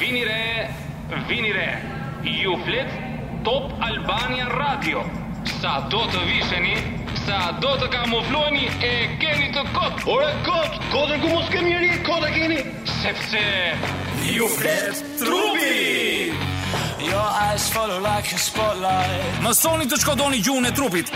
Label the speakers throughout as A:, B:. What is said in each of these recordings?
A: Vini re, vini re. Ju flet Top Albania Radio. Sa do të visheni, sa do të kamufloheni e keni të kot,
B: Ore kot, kotën ku mos kemi njëri, kota keni.
A: sepse
C: You flet trupi
D: Your eyes follow like a spotlight.
C: Mësoni të shkodoni gjuhën e trupit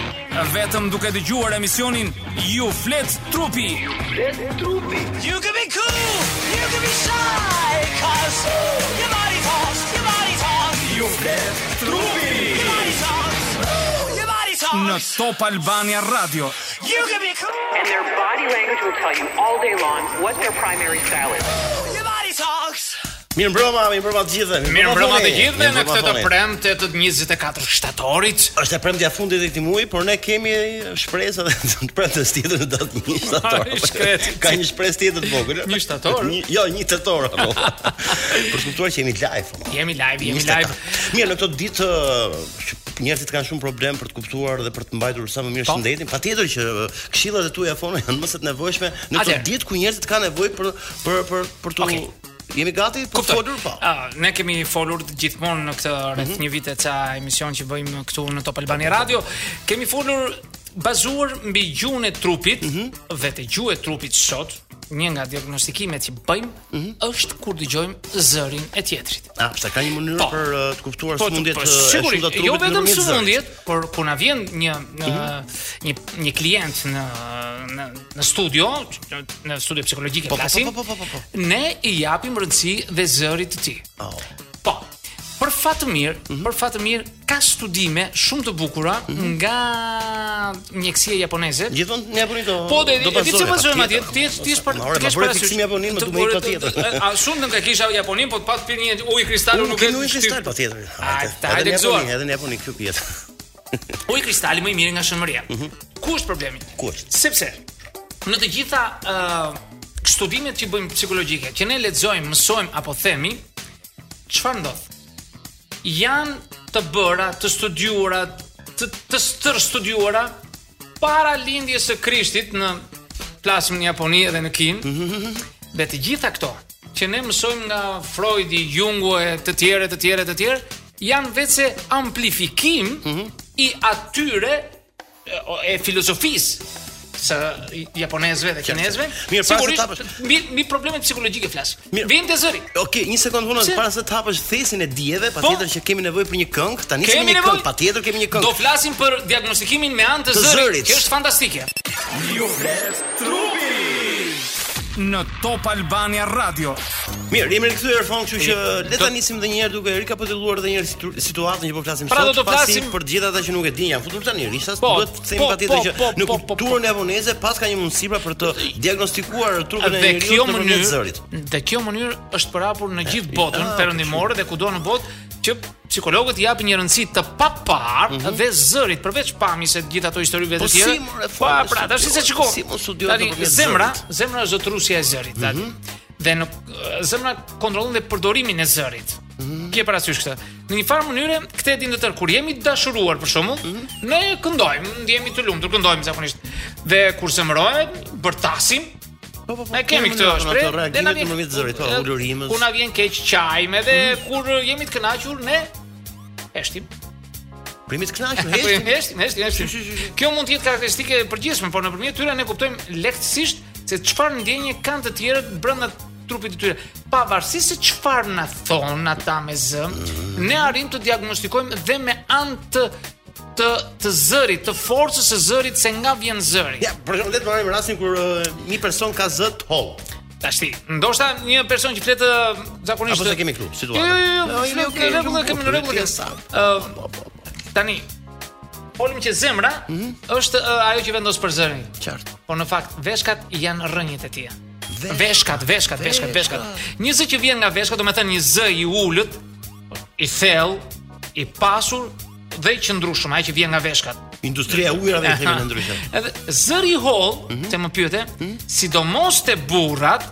C: Vetëm duke të gjuar emisionin Ju flet trupi
D: You can be cool, you can be shy, cause ooh, your body talks, your body talks,
C: Ju flet trupi
D: your body talks, ooh, your body
C: Në
D: talks.
C: Top Albania Radio
D: You can be cool,
E: and their body language will tell you all day long what their primary style is.
D: your body talks.
B: Mirë mbrëma, mirë mbrëma të gjithëve.
F: Mirë mbrëma të gjithëve në
B: mirëmbrëma
F: këtë të
B: foni.
F: premte të 24 shtatorit.
B: Është e premtja e fundit e këtij muaji, por ne kemi shpresë edhe të premtës tjetër në datë 1 shtator.
F: Ai, shkret.
B: Ka një shpresë tjetër të vogël.
F: Një shtator?
B: Një- Jo, 1 tetor apo. Për të kuptuar që jemi live. ama.
F: Jemi live, jemi
B: 24.
F: live.
B: Mirë, në këtë ditë ë, që njerëzit kanë shumë problem për të kuptuar dhe për të mbajtur sa më
F: Po.
B: mirë shëndetin. Patjetër që ë, këshillat e tua fona janë më së të nevojshme në këtë
F: Atëherë.
B: ditë ku njerëzit kanë nevojë për për për për të
F: Okej.
B: Jemi gati për të
F: Kuptoj.
B: folur po. Mhm.
F: Ah, ne kemi folur gjithmonë në këtë rreth një vit e ca emision që bëjmë këtu në Top Albani Radio. Kemi folur bazuar mbi gjuhën e trupit
B: Mhm.
F: dhe të gjuhë e trupit sot një nga diagnostikimet që bëjmë
B: Mhm.
F: është kur dëgjojmë zërin e tjetrit.
B: Ah, pse ka një mënyrë
F: Po.
B: për ë, të kuptuar
F: Po,
B: sëmundjet
F: po,
B: ë, e
F: sigurisht,
B: shumta të trupit. Mhm.
F: jo vetëm
B: nëpërmjet zërit.
F: sëmundjet, por kur na vjen një në, një një klient në në, në studio, që- në studio psikologjike
B: Po, po,
F: flasim,
B: po, po, po, po, po.
F: ne i japim rëndësi dhe zërit të tij.
B: Oh.
F: Po. Për fat të mirë,
B: Mhm.
F: për fat të mirë ka studime shumë të bukura nga mjekësia japoneze.
B: Gjithmonë në Japoni do
F: Po, do
B: Jo, do
F: të di
B: bazojnë,
F: se bazojmë atje,
B: patjetër.
F: ti ti është për
B: Ma, ore,
F: kesh
B: ma bëre
F: parasysh.
B: fiksim Japonin, më
F: Të-
B: du me ikë
F: të-
B: patjetër.
F: të- A shumë nuk e kisha Japonin, po të pat pirë një ujë kristali
B: Unë
F: nuk e
B: kemi ujë kristal
F: shtyp.
B: patjetër.
F: A,
B: Hajde,
F: ta,
B: edhe
F: hajde
B: në
F: gëzuar.
B: Japoni, Edhe në Japoni kjo pjetë.
F: Uji kristali më i mirë nga shëmëria. Ku është problemi?
B: Ku është?
F: Sepse në të gjitha ë studimet që bëjmë psikologjike, që ne lexojmë, mësojmë apo themi, çfarë ndodh? Janë të bëra, të studiuara, të të stër studiuara para lindjes së Krishtit në plasëm në Japoni dhe në Kinë.
B: Mhm.
F: Dhe të gjitha këto që ne mësojmë nga Freudi, Jungu e të tjerë, të tjerë, të tjerë, janë vetë se amplifikim
B: Mhm.
F: i atyre e, o- e filozofisë së japonezëve dhe kinezëve.
B: Mirë, para se
F: sigurisht
B: tapësh-
F: mbi mbi problemet psikologjike flas.
B: Mirë.
F: Vjen te zëri.
B: Okej, një sekondë vonë
F: Pse? Po.
B: para se të hapësh thesin e dijeve, patjetër që kemi nevojë për një këngë. Tani kemi një këngë, patjetër kemi një
F: Do
B: këngë.
F: flasim për diagnostikimin me anë të
B: Të
F: zërit.
B: zërit.
F: Kjo është fantastike.
C: Në Top Albania Radio
B: Mirë, jemi rikthyer fon, kështu që le ta nisim edhe një herë duke rikapituluar edhe një herë situ- situatën që po flasim
F: Pra, do
B: sot,
F: të
B: pasi
F: flasim-
B: për të gjithë ata që nuk e dinë, janë futur tani rishas,
F: Po,
B: duhet të themi
F: po,
B: patjetër
F: po,
B: që
F: po, po,
B: në
F: po, po.
B: kulturën japoneze pas ka një mundësi pra për të diagnostikuar trupin e
F: Dhe kjo
B: njeriu nëpërmjet
F: mënyrë,
B: zërit.
F: dhe kjo mënyrë është përhapur në gjithë botën
B: ah,
F: perëndimore dhe kudo në botë që psikologët japin një rëndësi të papar dhe zërit përveç pamjes së gjithë ato historive
B: Mhm. Po
F: të tjera.
B: si, more,
F: Po
B: fare,
F: pra, tash se
B: studio-
F: çiko.
B: si mund studiohet
F: Tani
B: nëpërmjet
F: zemra,
B: zërit? Mhm.
F: zemra është zotrusja e zërit, tani. Dhe në zemra kontrollon dhe përdorimin e zërit.
B: Mhm.
F: Kje parasysh këtë? Në një farë mënyre, këtë e dinë të tërë, kur jemi të dashuruar për shembull,
B: Mhm.
F: ne këndojmë, ndjehemi të lumtur, këndojmë zakonisht. Dhe kur zemrohet, bërtasim,
B: Po po po.
F: Ne kemi këtë shpreh.
B: Ne na vjen mëmit zërit, po Mm. ulurimës.
F: Kur na vjen keq çajme dhe kur jemi të kënaqur ne heshtim.
B: Primit kënaqur,
F: Po
B: heshtim.
F: heshtim, heshtim, heshtim. Kjo mund të jetë karakteristike e përgjithshme, por nëpërmjet tyre ne kuptojmë lehtësisht se çfarë ndjenje kanë të tjerët brenda trupit të tyre. Pavarësisht se çfarë na thon ata me zë,
B: Mm.
F: ne arrim të diagnostikojmë dhe me anë të të të zërit, të forcës së zërit se nga vjen zëri.
B: Ja, për shembull, le të marrim rastin kur uh, një person ka zë të holl.
F: Tashti, ndoshta një person që flet ë, zakonisht
B: Apo se kemi këtu situatën?
F: Jo, jo, jo,
B: Jo, jemi
F: në në
B: okay,
F: rregull,
B: shumë
F: kemi
B: bukur,
F: në rregull. kemi.
B: kjo sa.
F: Ë, tani folim që zemra është ë, ajo që vendos për zërin.
B: Qartë.
F: Po në fakt veshkat janë rrënjët e tij. Veshkat, veshkat, veshkat, veshkat. Një zë që vjen nga veshkat, do të thënë një zë i ulët, i thellë, i pasur dhe i qëndrueshëm, ai që vjen nga veshkat.
B: Industria e ujrave i themi
F: Aha.
B: në ndryshim.
F: Edhe zëri i holl, se më pyete, sidomos te burrat,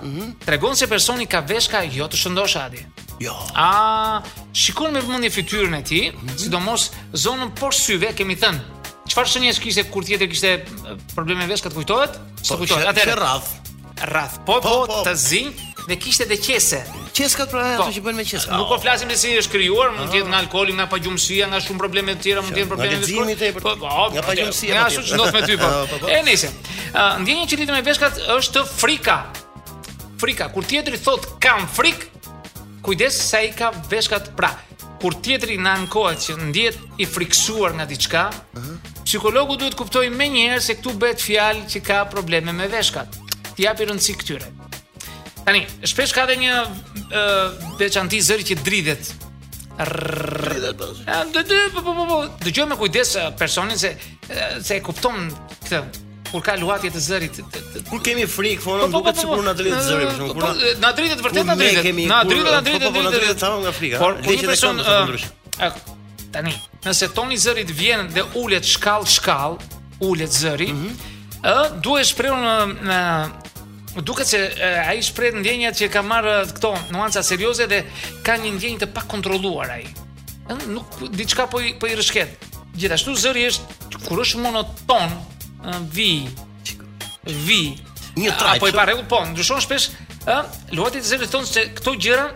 F: tregon se personi ka veshka jo të shëndoshë atje.
B: Jo.
F: A shikon me vëmendje fytyrën e tij, sidomos zonën poshtë syve, kemi thënë. Çfarë shenjesh kishte kur tjetër kishte e, probleme me veshkat kujtohet? S'të
B: Po,
F: kujtohet.
B: Atëherë
F: Atëherë
B: rradh.
F: rrath, po po,
B: po.
F: të zinj dhe kishte dhe qese.
B: Qeskat pra
F: Po.
B: ato që bën me qeska.
F: Nuk po flasim se si është krijuar, mund të jetë nga alkooli, nga pagjumësia, nga shumë probleme të tjera, mund të jenë
B: Nga
F: probleme të
B: leximi i tepërt,
F: Po, po,
B: nga pagjumësia
F: Nga
B: më
F: ashtu
B: tepër.
F: që ndodh me ty po.
B: Po, po.
F: E nice. Ë, Ndjenja që lidhet me veshkat është frika. Frika, kur tjetri thot kam frik, kujdes se ai ka veshkat pra. Kur tjetri na ankohet që ndjet i friksuar nga diçka, psikologu duhet kuptoj menjëherë se këtu bëhet fjalë që ka probleme me veshkat. Ti japi rëndësi këtyre. Tani, shpesh ka dhe një ë veçanti zëri që dridhet. Ë, dë- dë- po po po. po. Dëgjoj me kujdes ë, personin se ë, se e kupton këtë kur ka luhatje të zërit. të- të-
B: Kur kemi frikë,
F: Po,
B: fono
F: po, po,
B: duket
F: po,
B: sikur
F: po.
B: na dritë zëri, për shembull, kur
F: Po,
B: na-
F: na dritet vërtet
B: kur
F: na
B: ne
F: dritet.
B: kemi-
F: Na
B: kur-
F: dritet, na
B: po,
F: dritet,
B: po, po, na dritet tamam nga frika,
F: Por
B: ha?
F: kur një
B: Legjet e
F: person
B: këmbës, thonë
F: ë,
B: ndryshe.
F: ë, tani, nëse toni i zërit vjen dhe ulet shkall shkall, ulet zëri,
B: Mhm.
F: ë duhet shprehur në, në duket se ë, ai shpreh ndjenjat që ka marrë ë, këto nuanca serioze dhe ka një ndjenjë të pakontrolluar ai. Ë, Nuk diçka po i, po i rrshket. Gjithashtu zëri është kur është monoton, ë, vi, vi.
B: Një
F: A-
B: trajt,
F: Apo i
B: shumë.
F: pa rregull, po, ndryshon shpesh, ë, luajti të zërit thonë se këto gjëra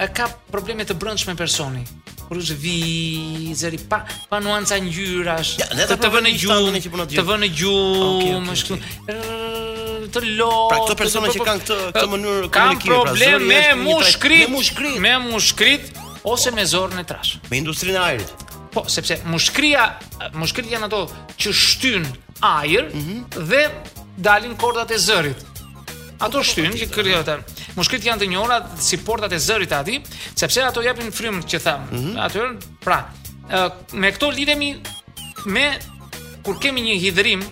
F: e ka probleme të brendshme personi. Kur është vi, zëri pa pa nuanca ngjyrash,
B: Ja, dhe ata
F: të të vënë
B: probleme
F: gjumë,
B: që punojnë
F: të
B: gjithë.
F: vënë gjumë,
B: Okej, okej,
F: është
B: okej.
F: kështu, rrrr, të lo.
B: Pra, këto
F: të- të-
B: persona
F: po,
B: që
F: po,
B: kanë këtë- këtë
F: ë,
B: mënyrë
F: kanë
B: komunikimi, pra,
F: problem
B: zëri
F: me
B: është një trajt-
F: mushkrit,
B: me mushkrit.
F: me mushkrit ose me zorën e trash.
B: me industrinë e ajrit.
F: Po, sepse mushkria, mushkrit janë ato që shtyn ajër dhe dalin kordat e zërit. Ato shtyn që krijohet. atë. Mushkrit janë të njohura si portat e zërit aty, sepse ato japin frym që tham.
B: Mhm.
F: Ato janë, pra, ë, me këto lidhemi me kur kemi një hidhrim,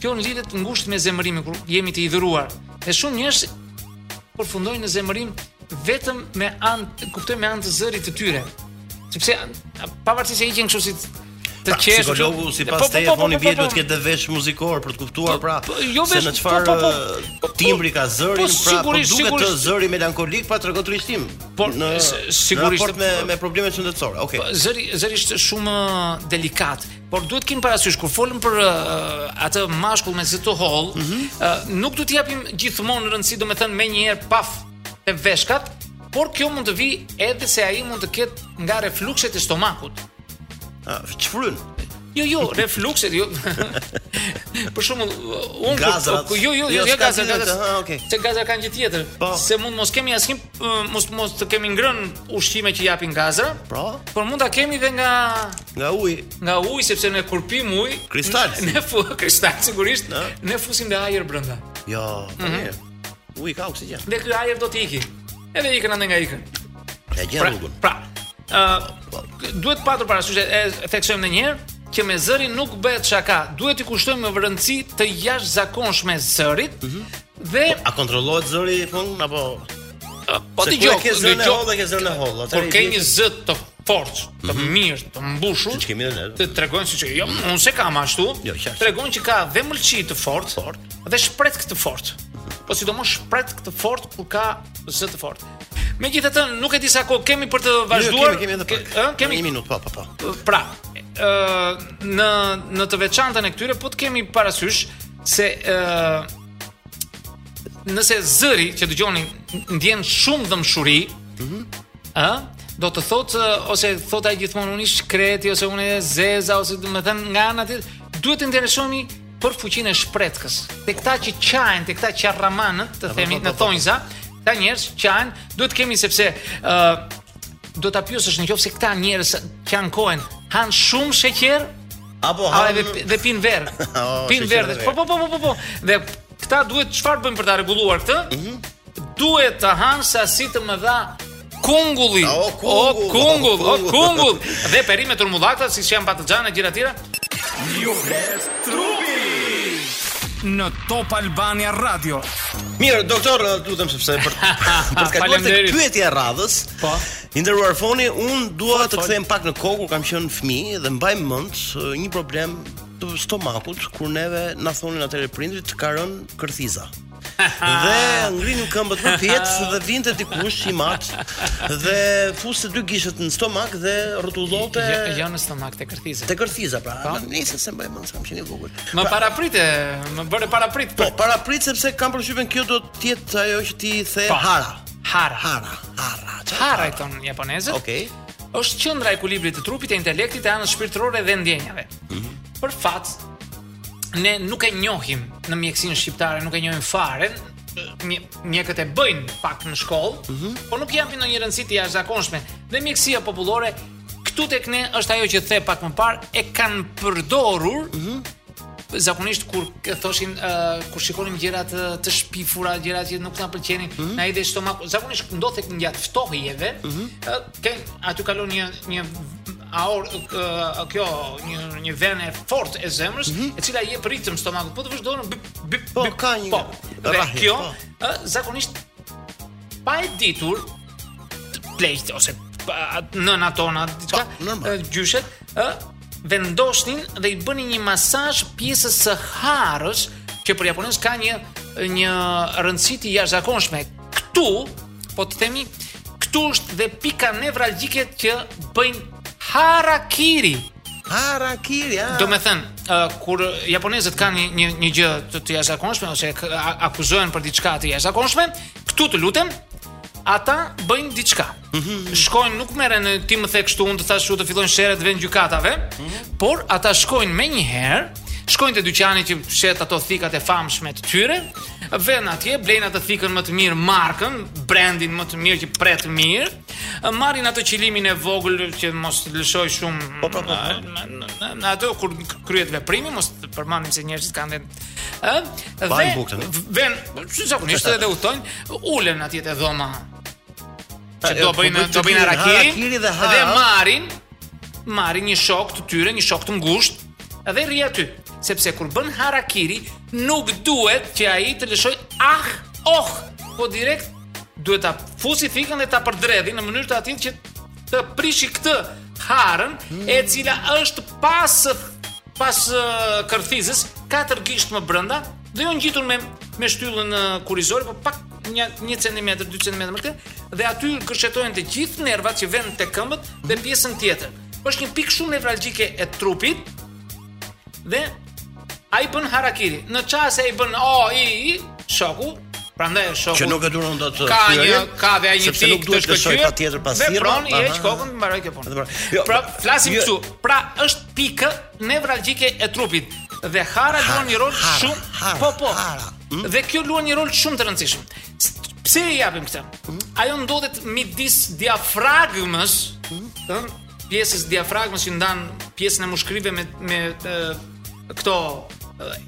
F: kjo në lidhet ngushtë me zemërimin kur jemi të hidhuruar. Dhe shumë njerëz përfundojnë në zemërim vetëm me anë, kuptoj me anë të zërit të tyre. Sepse a- pavarësisht se hiqen kështu si t- të
B: Pra,
F: qeshur,
B: psikologu
F: kështu-
B: sipas
F: Po, po,
B: teje
F: po, po,
B: foni
F: po,
B: vjet
F: po,
B: duhet të ketë dhe vesh muzikor për të kuptuar
F: Po,
B: pra
F: po, jo
B: se
F: vesh,
B: në çfarë
F: po, po, po,
B: ë,
F: po, po,
B: timbri ka zërin
F: po,
B: pra po
F: sigurisht,
B: duket të
F: sigurisht.
B: zëri melankolik pa tregon trishtim.
F: Por,
B: në
F: s-
B: në
F: sigurisht, Po.
B: raport me me probleme shëndetësore. Okej.
F: zëri zëri është shumë ë, delikat, por duhet të kemi parasysh kur folëm për ë, atë mashkull me zë të holl,
B: Mhm.
F: ë, nuk do t'i japim gjithmonë rëndësi, domethënë me një herë paf te veshkat, por kjo mund të vi edhe se ai mund të ketë nga reflukset e stomakut.
B: Ah, Çfryn.
F: Jo, jo, reflukset, jo. për shembull, unë
B: Gazrat.
F: kur- jo, jo, jo,
B: Jo,
F: jo
B: s'ka
F: gazra,
B: si
F: gazra.
B: vetë, aha, okay.
F: Se gazra kanë gjë tjetër.
B: Po.
F: Se mund mos kemi asnjë ë, mos mos të kemi ngrënë ushqime që japin gazra.
B: Pra?
F: Por mund ta kemi dhe nga
B: Nga uji.
F: nga uji sepse ne kur pim ujë,
B: Kristal.
F: Ne fu kristal sigurisht,
B: Na.
F: ne fusim dhe ajër brenda.
B: Jo, po
F: Mhm.
B: mirë. Uji ka oksigjen.
F: Dhe ky ajër do të iki. Edhe ikën ande nga ikën.
B: E gjen
F: Pra,
B: rrugën.
F: pra ë duhet patur parasysh e e theksojmë edhe një herë që me zërin nuk bëhet shaka. Duhet i kushtojmë me rëndësi të jashtëzakonshme zërit
B: Mhm.
F: dhe
B: A kontrollohet zëri i fund apo
F: po
B: se
F: ti
B: kur e ke zërin e hollë, e ke zërin e hollë. atëherë
F: Kur
B: i
F: ke
B: bie-
F: një zë të fortë, të
B: Mhm.
F: mirë, të mbushur,
B: Siç kemi edhe ne.
F: të tregojnë siç jo, unë se kam ashtu,
B: Jo, qartë.
F: tregojnë që ka dhe mëlçi të fortë, dhe shpret këtë fortë. Po sidomos shpret këtë fortë kur ka zë të fortë. Megjithatë, nuk e di sa kohë kemi për të
B: Jo,
F: vazhduar.
B: Kemi kemi edhe
F: Ke-
B: pak.
F: ë, kemi
B: një minutë, po, po, po.
F: pra, ë në në të veçantën e këtyre po të kemi parasysh se ë nëse zëri që dëgjoni ndjen shumë dëmshuri, ë do të thotë ë, ose thotë ai gjithmonë unë ish kreti ose unë e zeza ose do të thënë nga ana tjetër duhet të interesohemi për fuqinë e shpretkës. Te këta që qajnë, te këta që rramanët, të themi në thonjza, këta njerëz qajnë, duhet të kemi sepse ë do ta pyesësh në qoftë se këta njerëz që ankohen han shumë sheqer
B: Apo
F: a
B: ha.
F: dhe, dhe pin verë.
B: O,
F: pin
B: sheqer
F: verë.
B: dhe
F: Po po
B: verë.
F: po po po po. Dhe këta duhet çfarë bëjmë për ta rregulluar këtë?
B: Mhm.
F: Duhet të han sasi të mëdha kungulli.
B: O,
F: o
B: kungull,
F: kungull, o
B: o, kungull.
F: kungull. Dhe perime turmullakta siç janë patlıxhana gjëra tjera.
C: Në Top Albania Radio.
B: Mirë, doktor, lutem sepse për për të kaluar tek
F: Faleminderit.
B: pyetja e radhës.
F: Po.
B: I nderuar Foni, un dua të
F: fol.
B: kthehem pak në kohë kur kam qenë fëmijë dhe mbaj mend eh, një problem të stomakut kur neve na thonin atëre prindrit ka rënë kërthiza. dhe ngrinin këmbët për pjetë dhe vinte dikush i mat dhe fuste dy gishët në stomak dhe rrotullote
F: Jo, jo në stomak të kërthizë.
B: te kërthiza pra. Nëse se mbaj mend se kam qenë i vogël.
F: Më paraprite, më bëre paraprit.
B: Po, para prit sepse kam përshtypjen kjo do të jetë ajo që ti the hara.
F: hara.
B: Hara, hara. qa-
F: Hara i thonë japonezët.
B: Okej.
F: Është qendra e ekuilibrit të trupit, e intelektit, e anës shpirtërore dhe ndjenjave. Për fat, ne nuk e njohim në mjekësinë shqiptare, nuk e njohim fare. Mje- Mjekët e bëjnë pak në shkollë, por nuk japin ndonjë rëndësi të jashtëzakonshme. Dhe mjekësia popullore këtu tek ne është ajo që the pak më parë, e kanë përdorur zakonisht kur k- thoshin uh, kur shikonim gjëra të, të shpifura, gjëra që nuk na pëlqenin,
B: Mhm.
F: na i dhe stomak. Zakonisht ndodhet tek gjatë ftohjeve, ë ke aty kalon një një aor k- ë, kjo një një venë fortë e zemrës, e cila i jep ritëm stomakut. Po të vazhdon bip bip.
B: Mhm. Po,
F: bip,
B: ka një
F: po. Dhe
B: rrahje,
F: kjo
B: po.
F: ë, zakonisht pa e ditur t- pleqt ose pa- nëna tona diçka
B: Po, normal.
F: ë, gjyshet ë vendosnin dhe i bënin një masazh pjesës së harës që për japonezë ka një një rëndësi të jashtëzakonshme. Këtu, po të themi, këtu është dhe pika nevralgjike që bëjnë harakiri.
B: Harakiri, ah.
F: Do me thënë, uh, kur japonezët kanë një, një, një gjë të, të jashtëzakonshme ose k- a- akuzohen për diçka të jashtëzakonshme, këtu të lutem, ata bëjnë diçka. Shkojnë, nuk merren e, ti më the kështu, unë të thash kështu, të fillojnë sherrët vend gjykatave, por ata shkojnë me një herë, shkojnë te dyqani që shet ato thikat e famshme të tyre, vënë atje, blejnë atë thikën më të mirë markën, brandin më të mirë që pret mirë, marrin atë qilimin e vogël që mos të lëshoj shumë
B: Po, po, po, po.
F: Në- në- në- në ato kur k- kryhet veprimi, mos të përmendim se njerëzit kanë vend. Ë?
B: Bajnë buktën.
F: Ven, si zakonisht edhe udhtojnë, ulen atje te dhoma. Që
B: e,
F: do
B: po,
F: bëjnë
B: bëjnë
F: do bëjnë
B: harakiri,
F: harakiri,
B: harakiri dhe ha-
F: marrin marrin një shok të tyre, një shok të ngushtë dhe rri aty, sepse kur bën harakiri nuk duhet që ai të lëshoj ah, oh, po direkt duhet ta fusi fikën dhe ta përdredhi në mënyrë të atill që të prishi këtë harën e cila është pas pas eh, kërthizës katër gisht më brenda dhe jo ngjitur me me shtyllën eh, kurizore, po pak një 1 cm, 2 cm më këtë dhe aty kërshetohen të gjithë nervat që vënë te këmbët dhe pjesën tjetër. Është një pikë shumë nevralgjike e trupit dhe ai bën harakiri. Në çast se ai bën o i i shoku, prandaj shoku
B: Që nuk e duron dot
F: ka një ka dhe ai një
B: sepse nuk
F: pikë të
B: duhet të shkoj
F: shkëlqyer.
B: patjetër pas
F: dhe
B: thirrje.
F: pron i heq kokën mbaroj ke
B: Edhe
F: punë.
B: pra- jo,
F: pra
B: po,
F: flasim
B: jo-
F: këtu. Pra është pikë nevralgjike e trupit dhe hara luan një rol
B: hara,
F: shumë
B: hara,
F: po po.
B: hara. Hm?
F: Dhe kjo luan një rol shumë të rëndësishëm. S- Pse e japim këtë?
B: Hm?
F: Ajo ndodhet midis diafragmës,
B: Hm?
F: ëh, pjesës diafragmës që ndan pjesën e mushkërive me me ë, këto ë,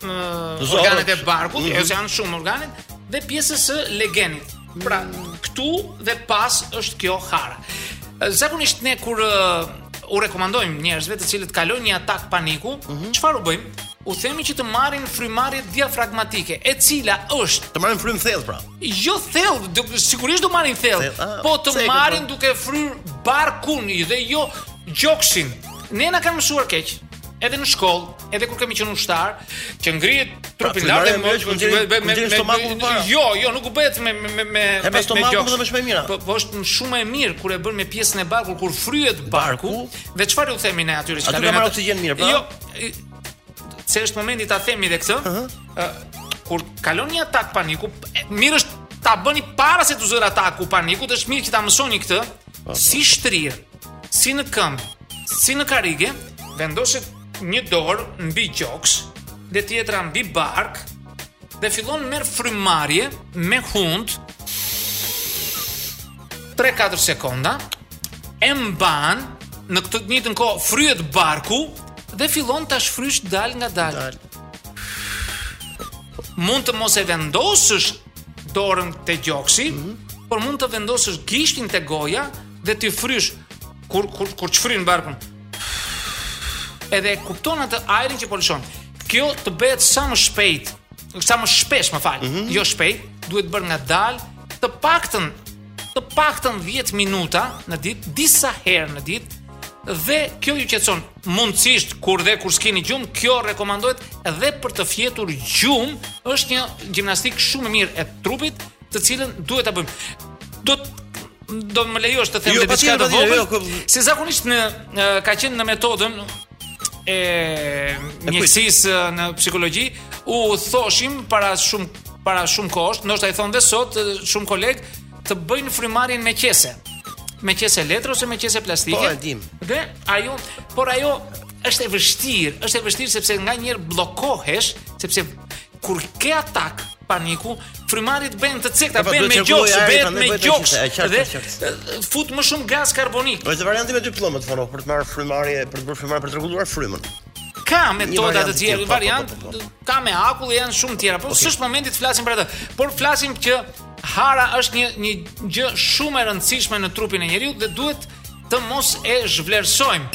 F: ë,
B: Zorët.
F: organet e barkut, ose janë shumë organet dhe pjesës së legenit. Pra, këtu dhe pas është kjo hara. Zakonisht ne kur ë, u rekomandojmë njerëzve të cilët kalojnë një atak paniku, çfarë u bëjmë? U themi që të marrin frymarrje diafragmatike, e cila është
B: Të marrim frymë thellë pra.
F: Jo thellë, do- sigurisht do marrin thellë,
B: Thellë, ah,
F: po të
B: pse e ke
F: marrin
B: bërë?
F: duke fryr barkun dhe jo gjoksin. Ne na kanë mësuar keq. Edhe në shkollë, edhe kur kemi qenë ushtar, që ngrihet trupi
B: frymarrja
F: lart e
B: e
F: më
B: mirë që nxjerrin- nxjerrin stomakun para.
F: jo, jo, nuk u bëhet me me me me
B: E me stomakun
F: gjoksin.
B: dhe me shpej mira.
F: Po po është shumë e mirë kur e bën me pjesën e barkut, kur fryhet barku, dhe çfarë u themi ne atyre që
B: Aty ka
F: kalojnë
B: marrë
F: atë-
B: oksigjen mirë, pra?
F: Jo, i- se është momenti ta themi dhe këtë. ë, kur kalon një atak paniku, e, mirë është ta bëni para se të zërë ataku paniku, të është mirë që ta mësoni këtë,
B: Po,
F: si shtrirë, si në këmbë, si në karige, vendoset një dorë mbi gjoks dhe tjetra mbi bark dhe fillon merr frymarrje me hund 3-4 sekonda e mban në këtë të njëjtën kohë fryhet barku dhe fillon ta shfrysh dal nga dal.
B: Dal.
F: Mund të mos e vendosësh dorën te gjoksi, por mund të vendosësh gishtin te goja dhe ti frysh kur kur kur çfryn barkun. Edhe e kupton atë ajrin që po lëshon. Kjo të bëhet sa më shpejt, sa më shpesh, më fal.
B: Mhm.
F: Jo shpejt, duhet bërë nga dal, të paktën të paktën 10 minuta në ditë, disa herë në ditë, dhe kjo ju qetson. Mundësisht kur dhe kur s'keni gjumë, kjo rekomandohet edhe për të fjetur gjumë, është një gjimnastik shumë e mirë e trupit, të cilën duhet ta bëjmë. Do të do më lejosh të them
B: Jo,
F: jo, diçka
B: patjetër,
F: të
B: patjetër,
F: vogël.
B: jo, ku-
F: Se zakonisht në e, ka qenë në metodën e mjekësisë e, në psikologji u thoshim para shumë para shumë kohësh, ndoshta i thon dhe sot e, shumë koleg të bëjnë frymarrjen me qese. Me qese letre ose me qese plastike.
B: Po, e dim.
F: Dhe ajo, por ajo është e vështirë, është e vështirë sepse nganjëherë bllokohesh, sepse kur ke atak paniku, frymarrjet bëjnë të cekta,
B: Po, po,
F: bëjnë
B: duhet
F: me
B: qarkullu
F: gjoks,
B: ajri,
F: bëhet
B: prandaj
F: me
B: bëhet e
F: gjoks.
B: qishte, e qartë,
F: Dhe
B: e qartë.
F: e, fut më shumë gaz karbonik.
B: Është varianti me dy pllëmë të fono për të marrë frymëmarrje, për të bërë frymëmarrje për të rregulluar frymën.
F: Ka metoda
B: variant
F: të
B: të
F: tjera,
B: tjerë, po,
F: variant,
B: po, po,
F: ka me akull janë shumë tjera, por s'është momenti të flasim për atë. Por flasim që hara është një një gjë shumë e rëndësishme në trupin e njeriu dhe duhet të mos e zhvlerësojmë.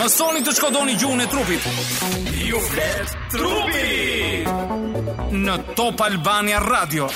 C: Mësoni të shkodoni gjuhën e trupit. Ju flet trupi. Në Top Albania Radio.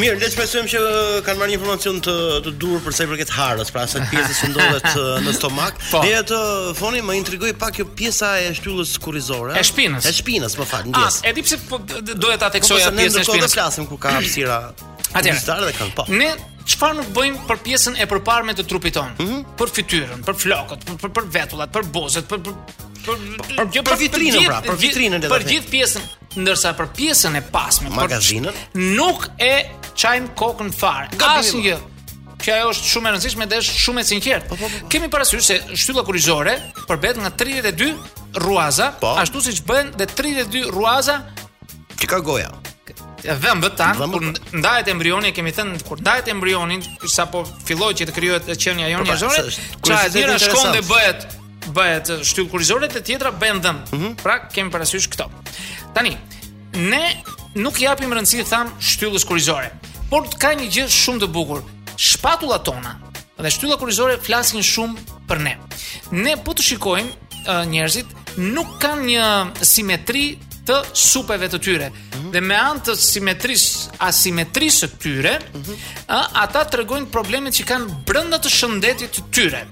B: Mirë, le të shpresojmë që ë, kanë marrë një informacion të të dur për sa i përket harës, pra asaj pjesës që ndodhet ë, në stomak.
F: Po.
B: Dhe atë uh, foni më intrigoi pak kjo pjesa e shtyllës kurrizore.
F: E shpinës.
B: E shpinës, më fal,
F: A,
B: ndjes.
F: e di pse po d- doja ta
B: Po
F: theksoja
B: se ne
F: pjesën e
B: ndërkohë do
F: shpinës.
B: flasim kur ka hapësira. publicitare dhe këngë, po.
F: Ne çfarë nuk bëjmë për pjesën e përparme të trupit tonë?
B: Mhm.
F: Për fytyrën, për flokët, për për, për vetullat, për bozët, për për për gjë-
B: për vitrinën,
F: gjithë-
B: pra, për
F: gjithë-
B: vitrinën, le ta
F: Për
B: them.
F: gjithë pjesën, ndërsa për pjesën e pasme, për-
B: Magazinën?
F: nuk e çajm kokën fare.
B: Gabim.
F: Asnjë. Që ajo është shumë e rëndësishme dhe është shumë e sinqertë.
B: po, po.
F: Kemi parasysh se shtylla kurrizore përbet nga 32 ruaza,
B: Po.
F: ashtu siç bëhen dhe 32 ruaza Mm.
B: Chicagoja.
F: dhëmbët tan,
B: Dhëmbët.
F: kur ndahet embrioni, kemi thënë kur ndahet embrioni, sapo filloi që të krijohet qenia jonë
B: Po, pra,
F: njerëzore,
B: se është
F: çfarë
B: kuriozitet
F: njëra
B: interesant.
F: shkon dhe bëhet bëhet shtyp kurrizore dhe tjetra bën dhëm. Pra kemi parasysh këto. Tani, ne nuk i japim rëndësi tham shtyllës kurrizore, por ka një gjë shumë të bukur. Shpatullat tona dhe shtylla kurrizore flasin shumë për ne. Ne po të shikojmë ë, njerëzit nuk kanë një simetri të supeve të tyre. Dhe me anë të simetrisë, asimetrisë të tyre, ë, ata tregojnë problemet që kanë brenda të shëndetit të tyre.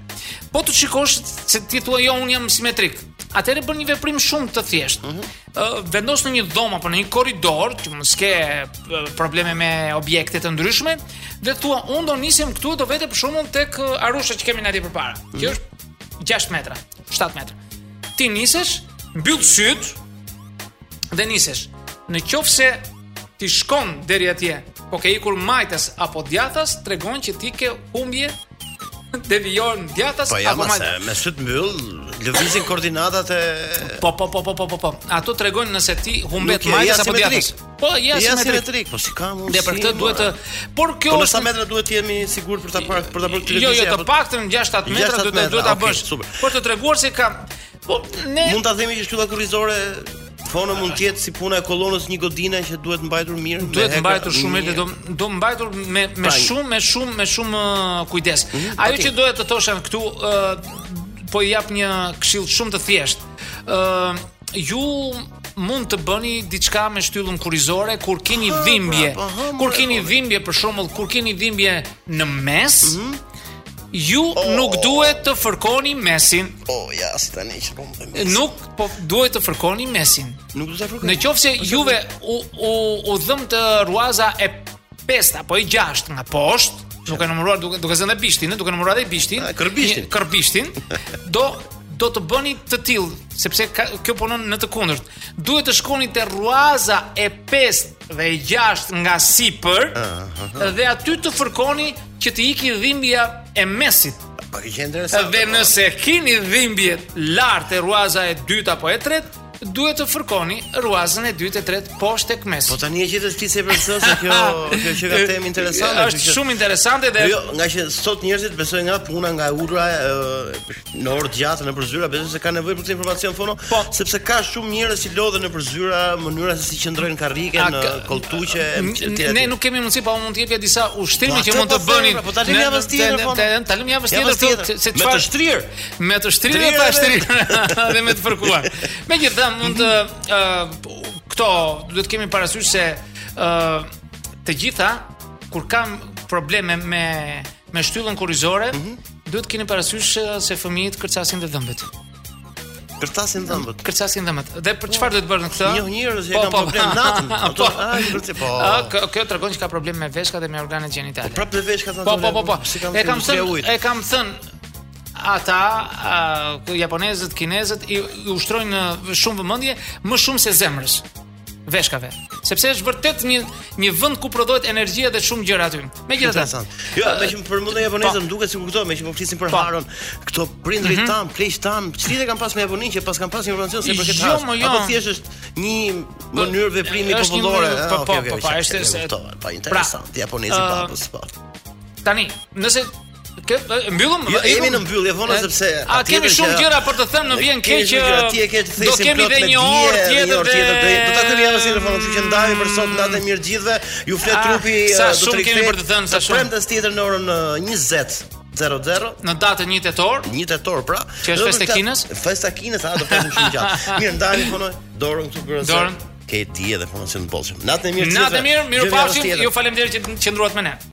F: Po të shikosh se ti thua jo un jam simetrik. Atëherë bën një veprim shumë të thjeshtë. Ë vendos në një dhomë apo në një korridor që mos ke ë, probleme me objekte të ndryshme dhe thua un do nisem këtu do vete për shembull tek ë, Arusha që kemi na atje përpara. Që është 6 metra, 7 metra. Ti nisesh, mbyll syt, dhe nisesh. Në qoftë se ti shkon deri atje, po ke ikur majtas apo djathtas, tregon që ti ke humbje devijor në djathtas
B: Po ja,
F: apo
B: ma se
F: majtas.
B: me syt mbyll, lëvizin koordinatat e
F: Po po po po po po po. Ato tregojnë nëse ti humbet
B: Nuk je- je
F: majtas apo
B: asimetrik.
F: djathtas. Po, je
B: Ja,
F: asimetrik.
B: simetrik, po si ka mundsi.
F: Dhe për këtë duhet të por kjo
B: Po në sa
F: është
B: metra duhet të jemi sigurt për ta parë për ta bërë po, këtë
F: Jo, jo,
B: lëvizje
F: të
B: apo-
F: paktën 6-7 metra duhet
B: 6-7
F: ta- duhet
B: metra,
F: ta
B: okay,
F: bësh.
B: super.
F: Por të treguar se ka Po ne
B: Mund ta themi që shtylla kurrizore fono mund të jetë si puna e kolonës një godine që duhet mbajtur mirë. me
F: duhet
B: hekra-
F: mbajtur shumë mirë dhe do
B: mirë.
F: do mbajtur me me
B: Pra,
F: shumë me shumë me shumë ë, kujdes. Ajo
B: okay.
F: që doja të thosha këtu ë, po i jap një këshill shumë të thjeshtë. ë ju mund të bëni diçka me shtyllën kurrizore kur keni dhimbje.
B: po, ha,
F: Kur
B: more,
F: keni dhimbje për shembull, kur keni dhimbje në mes,
B: Mhm.
F: ju nuk
B: Oh.
F: duhet të fërkoni mesin.
B: Po ja, si tani që po. më-
F: Nuk po duhet të fërkoni mesin.
B: Nuk do ta fërkoj.
F: Në qoftë se juve u u u dhëm të ruaza e 5 apo e 6 nga poshtë, duke numëruar duke duke zënë dhe bishtin, ë, duke numëruar dhe bishtin,
B: A, kërbishtin.
F: një- kërbishtin, do do të bëni të tillë, sepse ka, kjo punon në të kundërt. Duhet të shkoni te ruaza e 5 dhe e 6 nga sipër dhe aty të fërkoni që të iki dhimbja e mesit.
B: Pak Po, e që interesant.
F: Dhe nëse keni dhimbje lart e ruaza e dytë apo e tretë, duhet të fërkoni ruazën e dytë e tretë poshtë tek mes.
B: Po tani e gjetës ti se për së se kjo kjo që ka temë interesante.
F: Është
B: kështu që-
F: shumë interesante dhe
B: Jo, nga që sot njerëzit besoj nga puna, nga urdra ë, në orë të gjata në përzyra, besoj se ka nevojë për këtë informacion fono,
F: Po.
B: sepse ka shumë njerëz që lodhen në përzyra, mënyra se si qëndrojnë në karrike,
F: A,
B: në
F: ka-
B: koltuqe,
F: n-
B: etj. etj.
F: ne nuk kemi mundësi pa unë mund të jepja disa
B: Po,
F: ushtrime që
B: atë
F: mund të
B: po them,
F: bënin.
B: pra, po ta lëmë
F: Ne-
B: javës
F: te-
B: tjetër,
F: ne-
B: po.
F: te- Ta lëmë javës
B: Javës
F: tjetër
B: tjetër.
F: këtu, se
B: Me
F: çfarë
B: të shtrirë.
F: Me të shtrirë
B: Shtrirë
F: pa
B: dhe-
F: shtrirë dhe me të fërkuar. Megjithatë mund të ë, këto duhet kemi parasysh se ë, të gjitha kur kam probleme me me shtyllën kurrizore,
B: Mhm.
F: duhet keni parasysh ë, se fëmijët kërcasin dhe dhëmbët.
B: kërtasin dhëmbët.
F: Kërcasin dhëmbët. Dhe për çfarë duhet bërë në këtë? Po,
B: Njoh njerëz që kanë problem natën. Ato, ai kërci po.
F: Ë, kë- kjo tregon që ka problem me veshkat dhe me organet gjenitale.
B: Prapë dhe vesh ka thënë.
F: Po po po po.
B: Si kanë
F: E kam
B: thënë
F: thënë, e kam thënë ata a, japonezët, kinezët i, i ushtrojnë ë, shumë vëmendje, më shumë se zemrës. veshkave, sepse është vërtet një një vend ku prodhohet energjia dhe shumë gjëra aty. Megjithatë,
B: Interesant. Jo, me që më përmendën japonezët, më duket sikur këto, me që po flisin për
F: Po.
B: Haron, këto prindrit tan, pleq tan, çfarë kanë pas me Japonin që pas kanë pas informacion se për këtë
F: Jo,
B: rast.
F: mo, jo.
B: Apo thjesht është një mënyrë veprimi
F: është një
B: popullore.
F: mënyrë-
B: Ah,
F: po,
B: okay,
F: po,
B: okay,
F: po, po,
B: qartë,
F: është
B: e
F: se-
B: kuptova. Po, interesant.
F: ë,
B: Japonezi babës, po.
F: tani, nëse kë e mbyllëm
B: Jo,
F: e
B: jemi
F: ikëm?
B: në mbyllje vonë
F: E,
B: sepse
F: A kemi
B: patjetër
F: shumë
B: që-
F: gjëra për të thënë në vjen
B: Kemi
F: keq.
B: shumë gjëra, ti e ke të
F: Do
B: thesin
F: kemi
B: plot
F: edhe
B: me
F: një
B: dije,
F: orë tjetër.
B: një orë tjetër do do ta kemi
F: dhe-
B: javën si telefon, kështu që ndajmë për sot natë e mirë gjithëve. Ju flet
F: Ah,
B: trupi
F: sa
B: eh, do
F: shumë
B: të
F: kemi për të thënë, sa shumë.
B: Premtes tjetër në orën eh, 20 00
F: Në datën 1 tetor,
B: një tetor pra.
F: Që është
B: Dhe
F: festa e
B: për ta-
F: Kinës?
B: Festa e Kinës, a do të punim shumë gjatë. Mirë, ndani punoj dorën këtu për
F: Dorën.
B: Ke di edhe punën si të bollshëm. Natën e mirë.
F: natë e
B: gjithëve.
F: mirë, miru
B: Gjë javës
F: pafshim,
B: tjetër.
F: ju faleminderit që qëndruat me ne.